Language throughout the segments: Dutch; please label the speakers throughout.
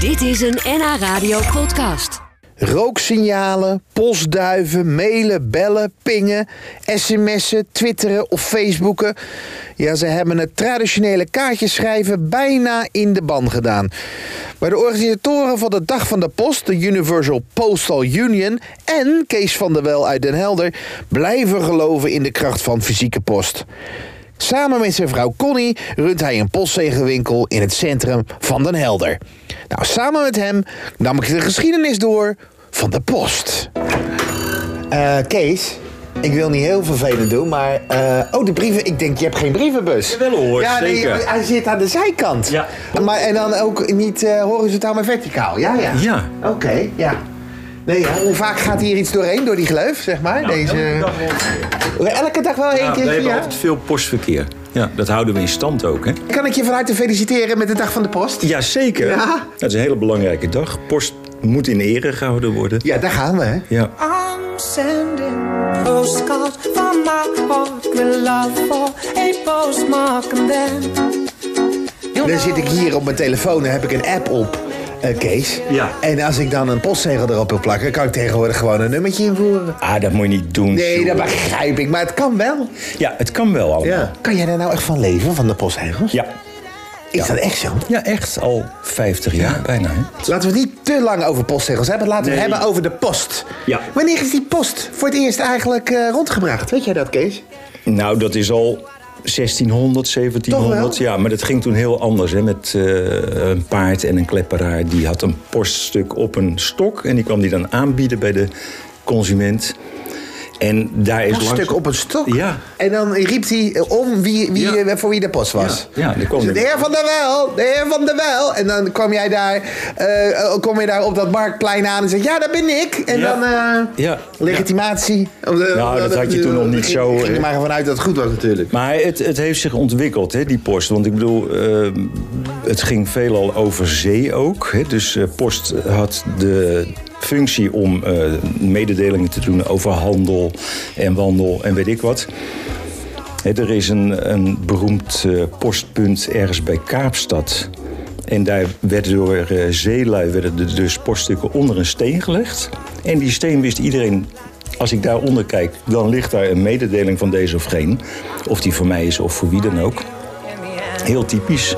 Speaker 1: Dit is een NH Radio podcast.
Speaker 2: Rooksignalen, postduiven, mailen, bellen, pingen, sms'en, twitteren of facebooken. Ja, ze hebben het traditionele kaartjeschrijven bijna in de ban gedaan. Maar de organisatoren van de Dag van de Post, de Universal Postal Union... en Kees van der Wel uit Den Helder blijven geloven in de kracht van fysieke post. Samen met zijn vrouw Connie runt hij een postzegelwinkel in het centrum van Den Helder. Nou, samen met hem nam ik de geschiedenis door van de post. Eh, Kees, ik wil niet heel vervelend doen, maar... eh, oh, de brieven. Ik denk, je hebt geen brievenbus.
Speaker 3: Jawel hoor,
Speaker 2: ja, nee,
Speaker 3: zeker.
Speaker 2: hij zit aan de zijkant.
Speaker 3: Ja.
Speaker 2: Maar, en dan ook niet eh, horizontaal, maar verticaal. Ja, ja.
Speaker 3: Ja.
Speaker 2: Oké, ja. Nee, ja. Hoe vaak gaat hier iets doorheen, door die gleuf, zeg maar? Deze...
Speaker 3: Nou, Elke
Speaker 2: Elke dag,
Speaker 3: dag wel.
Speaker 2: wel één
Speaker 3: eh, Ja,
Speaker 2: keer?
Speaker 3: Nou, we hebben
Speaker 2: ja?
Speaker 3: altijd veel postverkeer. Ja, dat houden we in stand ook, hè?
Speaker 2: Kan ik je van harte feliciteren met de Dag van de Post?
Speaker 3: Jazeker.
Speaker 2: Ja.
Speaker 3: Dat is een hele belangrijke dag. Post moet in ere gehouden worden.
Speaker 2: Ja, daar gaan we, hè?
Speaker 3: Ja.
Speaker 4: I'm sending postcards from my heart with love for a postmark and then. you
Speaker 2: Dan zit
Speaker 4: know
Speaker 2: ik hier op mijn telefoon en heb ik een app op, eh, Kees.
Speaker 3: Ja.
Speaker 2: En als ik dan een postzegel erop wil plakken, kan ik tegenwoordig gewoon een nummertje invoeren.
Speaker 3: Ah, dat moet je niet doen.
Speaker 2: Nee,
Speaker 3: joh.
Speaker 2: dat begrijp ik, maar het kan wel.
Speaker 3: Ja, het kan wel allemaal. Ja.
Speaker 2: Kan jij daar nou echt van leven, van de postzegels?
Speaker 3: Ja,
Speaker 2: Is dat echt zo?
Speaker 3: echt al 50 jaar bijna, hè?
Speaker 2: Laten we het niet te lang over postzegels hebben. Laten we
Speaker 3: Nee.
Speaker 2: het hebben over de post.
Speaker 3: Ja.
Speaker 2: Wanneer is die post voor het eerst eigenlijk eh, rondgebracht? Weet jij dat, Kees?
Speaker 3: Nou, dat is al 1600, 1700.
Speaker 2: Toch wel?
Speaker 3: Ja, maar dat ging toen heel anders. Hè? Met eh, een paard en een klepperaar. Die had een poststuk op een stok. En die kwam die dan aanbieden bij de consument. En daar is
Speaker 2: Een stuk
Speaker 3: langs-
Speaker 2: op een stok.
Speaker 3: Ja.
Speaker 2: En dan riep hij eh, om wie, wie,
Speaker 3: Ja.
Speaker 2: eh, voor wie de post was.
Speaker 3: Ja, ja, die kwam
Speaker 2: Dus
Speaker 3: er-
Speaker 2: de heer van der Wel, de heer van der Wel. En dan kwam jij daar, eh, eh, kom je daar op dat marktplein aan en zeg ja, dat ben ik. En
Speaker 3: Ja.
Speaker 2: dan eh,
Speaker 3: Ja.
Speaker 2: legitimatie. Of de-
Speaker 3: Nou,
Speaker 2: of
Speaker 3: dat
Speaker 2: de-
Speaker 3: had je toen nog niet zo,
Speaker 2: Ik ging
Speaker 3: eh.
Speaker 2: er maar vanuit dat het goed was natuurlijk.
Speaker 3: Maar het, het heeft zich ontwikkeld, hè, die post. Want ik bedoel, eh, het ging veelal over zee ook. Hè. Dus eh, post had de functie om eh, mededelingen te doen over handel en wandel en weet ik wat. Hè, er is een, een beroemd eh, postpunt ergens bij Kaapstad. En daar werden door eh, zeelui werden er dus poststukken onder een steen gelegd. En die steen wist iedereen, als ik daaronder kijk, dan ligt daar een mededeling van deze of geen. Of die voor mij is of voor wie dan ook. Heel typisch.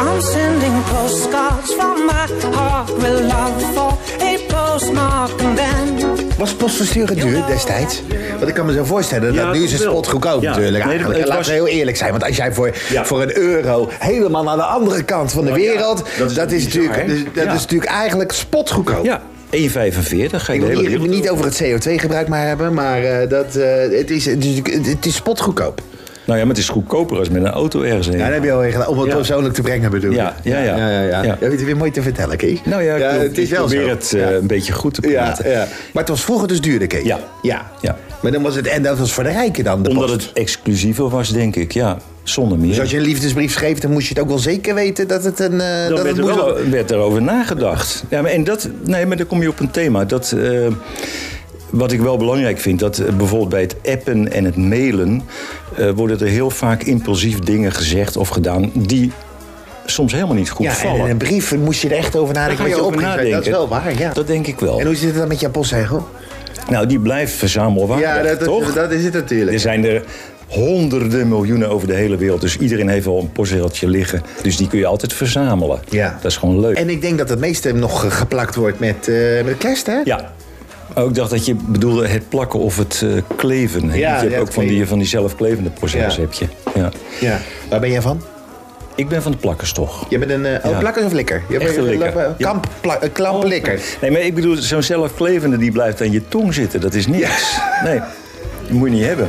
Speaker 4: I'm sending postcards from my heart with love for a postmark and then.
Speaker 2: Was postversturen duur destijds? Want ik kan me zo voorstellen,
Speaker 3: Ja,
Speaker 2: dat nu is het
Speaker 3: wel.
Speaker 2: spot goedkoop
Speaker 3: Ja.
Speaker 2: natuurlijk.
Speaker 3: Nee,
Speaker 2: eigenlijk.
Speaker 3: het
Speaker 2: En Laten we
Speaker 3: was-
Speaker 2: heel eerlijk zijn, want als jij voor,
Speaker 3: Ja.
Speaker 2: voor een euro helemaal naar de andere kant van de
Speaker 3: Oh ja,
Speaker 2: wereld...
Speaker 3: dat
Speaker 2: dat
Speaker 3: is
Speaker 2: is,
Speaker 3: bizar,
Speaker 2: natuurlijk,
Speaker 3: hè?
Speaker 2: dus- dat
Speaker 3: Ja.
Speaker 2: is natuurlijk eigenlijk spot goedkoop.
Speaker 3: Ja, 1,45 ga je
Speaker 2: Ik
Speaker 3: de
Speaker 2: wil
Speaker 3: hele
Speaker 2: hier
Speaker 3: wereld
Speaker 2: niet over het CO2-gebruik maar hebben, maar eh, dat, eh, het, is, het, is, het is spotgoedkoop.
Speaker 3: Nou ja, maar het is goedkoper als met een auto ergens heen.
Speaker 2: Ja, dat heb je al weer gedaan. Om het
Speaker 3: Ja.
Speaker 2: persoonlijk te brengen bedoel ik.
Speaker 3: Ja, ja, ja.
Speaker 2: ja, ja, ja.
Speaker 3: Ja.
Speaker 2: Dat heb je het weer mooi te vertellen, Kees.
Speaker 3: nou ja, ik, wil-
Speaker 2: het is
Speaker 3: ik
Speaker 2: wel
Speaker 3: probeer
Speaker 2: zo.
Speaker 3: het eh, een beetje goed te
Speaker 2: Ja,
Speaker 3: praten.
Speaker 2: ja. Maar het was vroeger dus duurder, Kees.
Speaker 3: Ja.
Speaker 2: ja.
Speaker 3: Ja.
Speaker 2: Maar dan was het, en dat was voor de rijken dan, de
Speaker 3: Omdat
Speaker 2: post.
Speaker 3: het exclusiever was, denk ik. Ja, zonder meer.
Speaker 2: Dus als je een liefdesbrief schreef, dan moest je het ook wel zeker weten dat het een... eh, dat
Speaker 3: Dan
Speaker 2: het
Speaker 3: werd, er
Speaker 2: moest
Speaker 3: wel, werd erover nagedacht. Ja, maar, en dat, nee, maar dan kom je op een thema. Dat, eh, wat ik wel belangrijk vind, dat eh, bijvoorbeeld bij het appen en het mailen... eh, worden er heel vaak impulsief dingen gezegd of gedaan die soms helemaal niet goed
Speaker 2: Ja, en
Speaker 3: vallen.
Speaker 2: in een brief moest je er echt over nadenken.
Speaker 3: Daar ga
Speaker 2: wat
Speaker 3: je over
Speaker 2: opgeeft.
Speaker 3: nadenken.
Speaker 2: Dat is wel waar, ja.
Speaker 3: Dat denk ik wel.
Speaker 2: En hoe zit het dan met jouw postzegel?
Speaker 3: Nou, die blijft verzamelwaardig, toch?
Speaker 2: is het
Speaker 3: Er
Speaker 2: natuurlijk.
Speaker 3: zijn er honderden miljoenen over de hele wereld. Dus iedereen heeft wel een postzegeltje liggen. Dus die kun je altijd verzamelen.
Speaker 2: Ja.
Speaker 3: Dat is gewoon leuk.
Speaker 2: En ik denk dat het meeste nog eh, geplakt wordt met, eh met kerst, hè?
Speaker 3: Ja. Ook ik dacht dat je bedoelde het plakken of het eh, kleven. hè?
Speaker 2: Ja,
Speaker 3: Want je
Speaker 2: ja,
Speaker 3: hebt ook
Speaker 2: het
Speaker 3: van die,
Speaker 2: kleven.
Speaker 3: van die zelfklevende postzeggels
Speaker 2: Ja.
Speaker 3: heb je. Ja.
Speaker 2: Ja. Waar ben jij van?
Speaker 3: Ik ben van de plakkers toch.
Speaker 2: Je bent een... eh, oh,
Speaker 3: Ja.
Speaker 2: plakkers of likker? Je
Speaker 3: Echte
Speaker 2: bent een
Speaker 3: likker.
Speaker 2: lap-
Speaker 3: Ja.
Speaker 2: Kamp, plak- eh, klamp likker.
Speaker 3: Nee, maar ik bedoel, zo'n zelfklevende die blijft aan je tong zitten. Dat is niks. Nee, dat moet je niet hebben.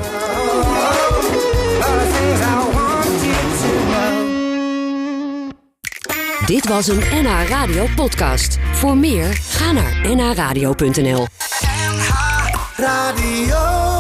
Speaker 4: The things I want you to know.
Speaker 1: Dit was een NH Radio podcast. Voor meer, ga naar nhradio.nl.
Speaker 3: Oh,
Speaker 5: NH Radio.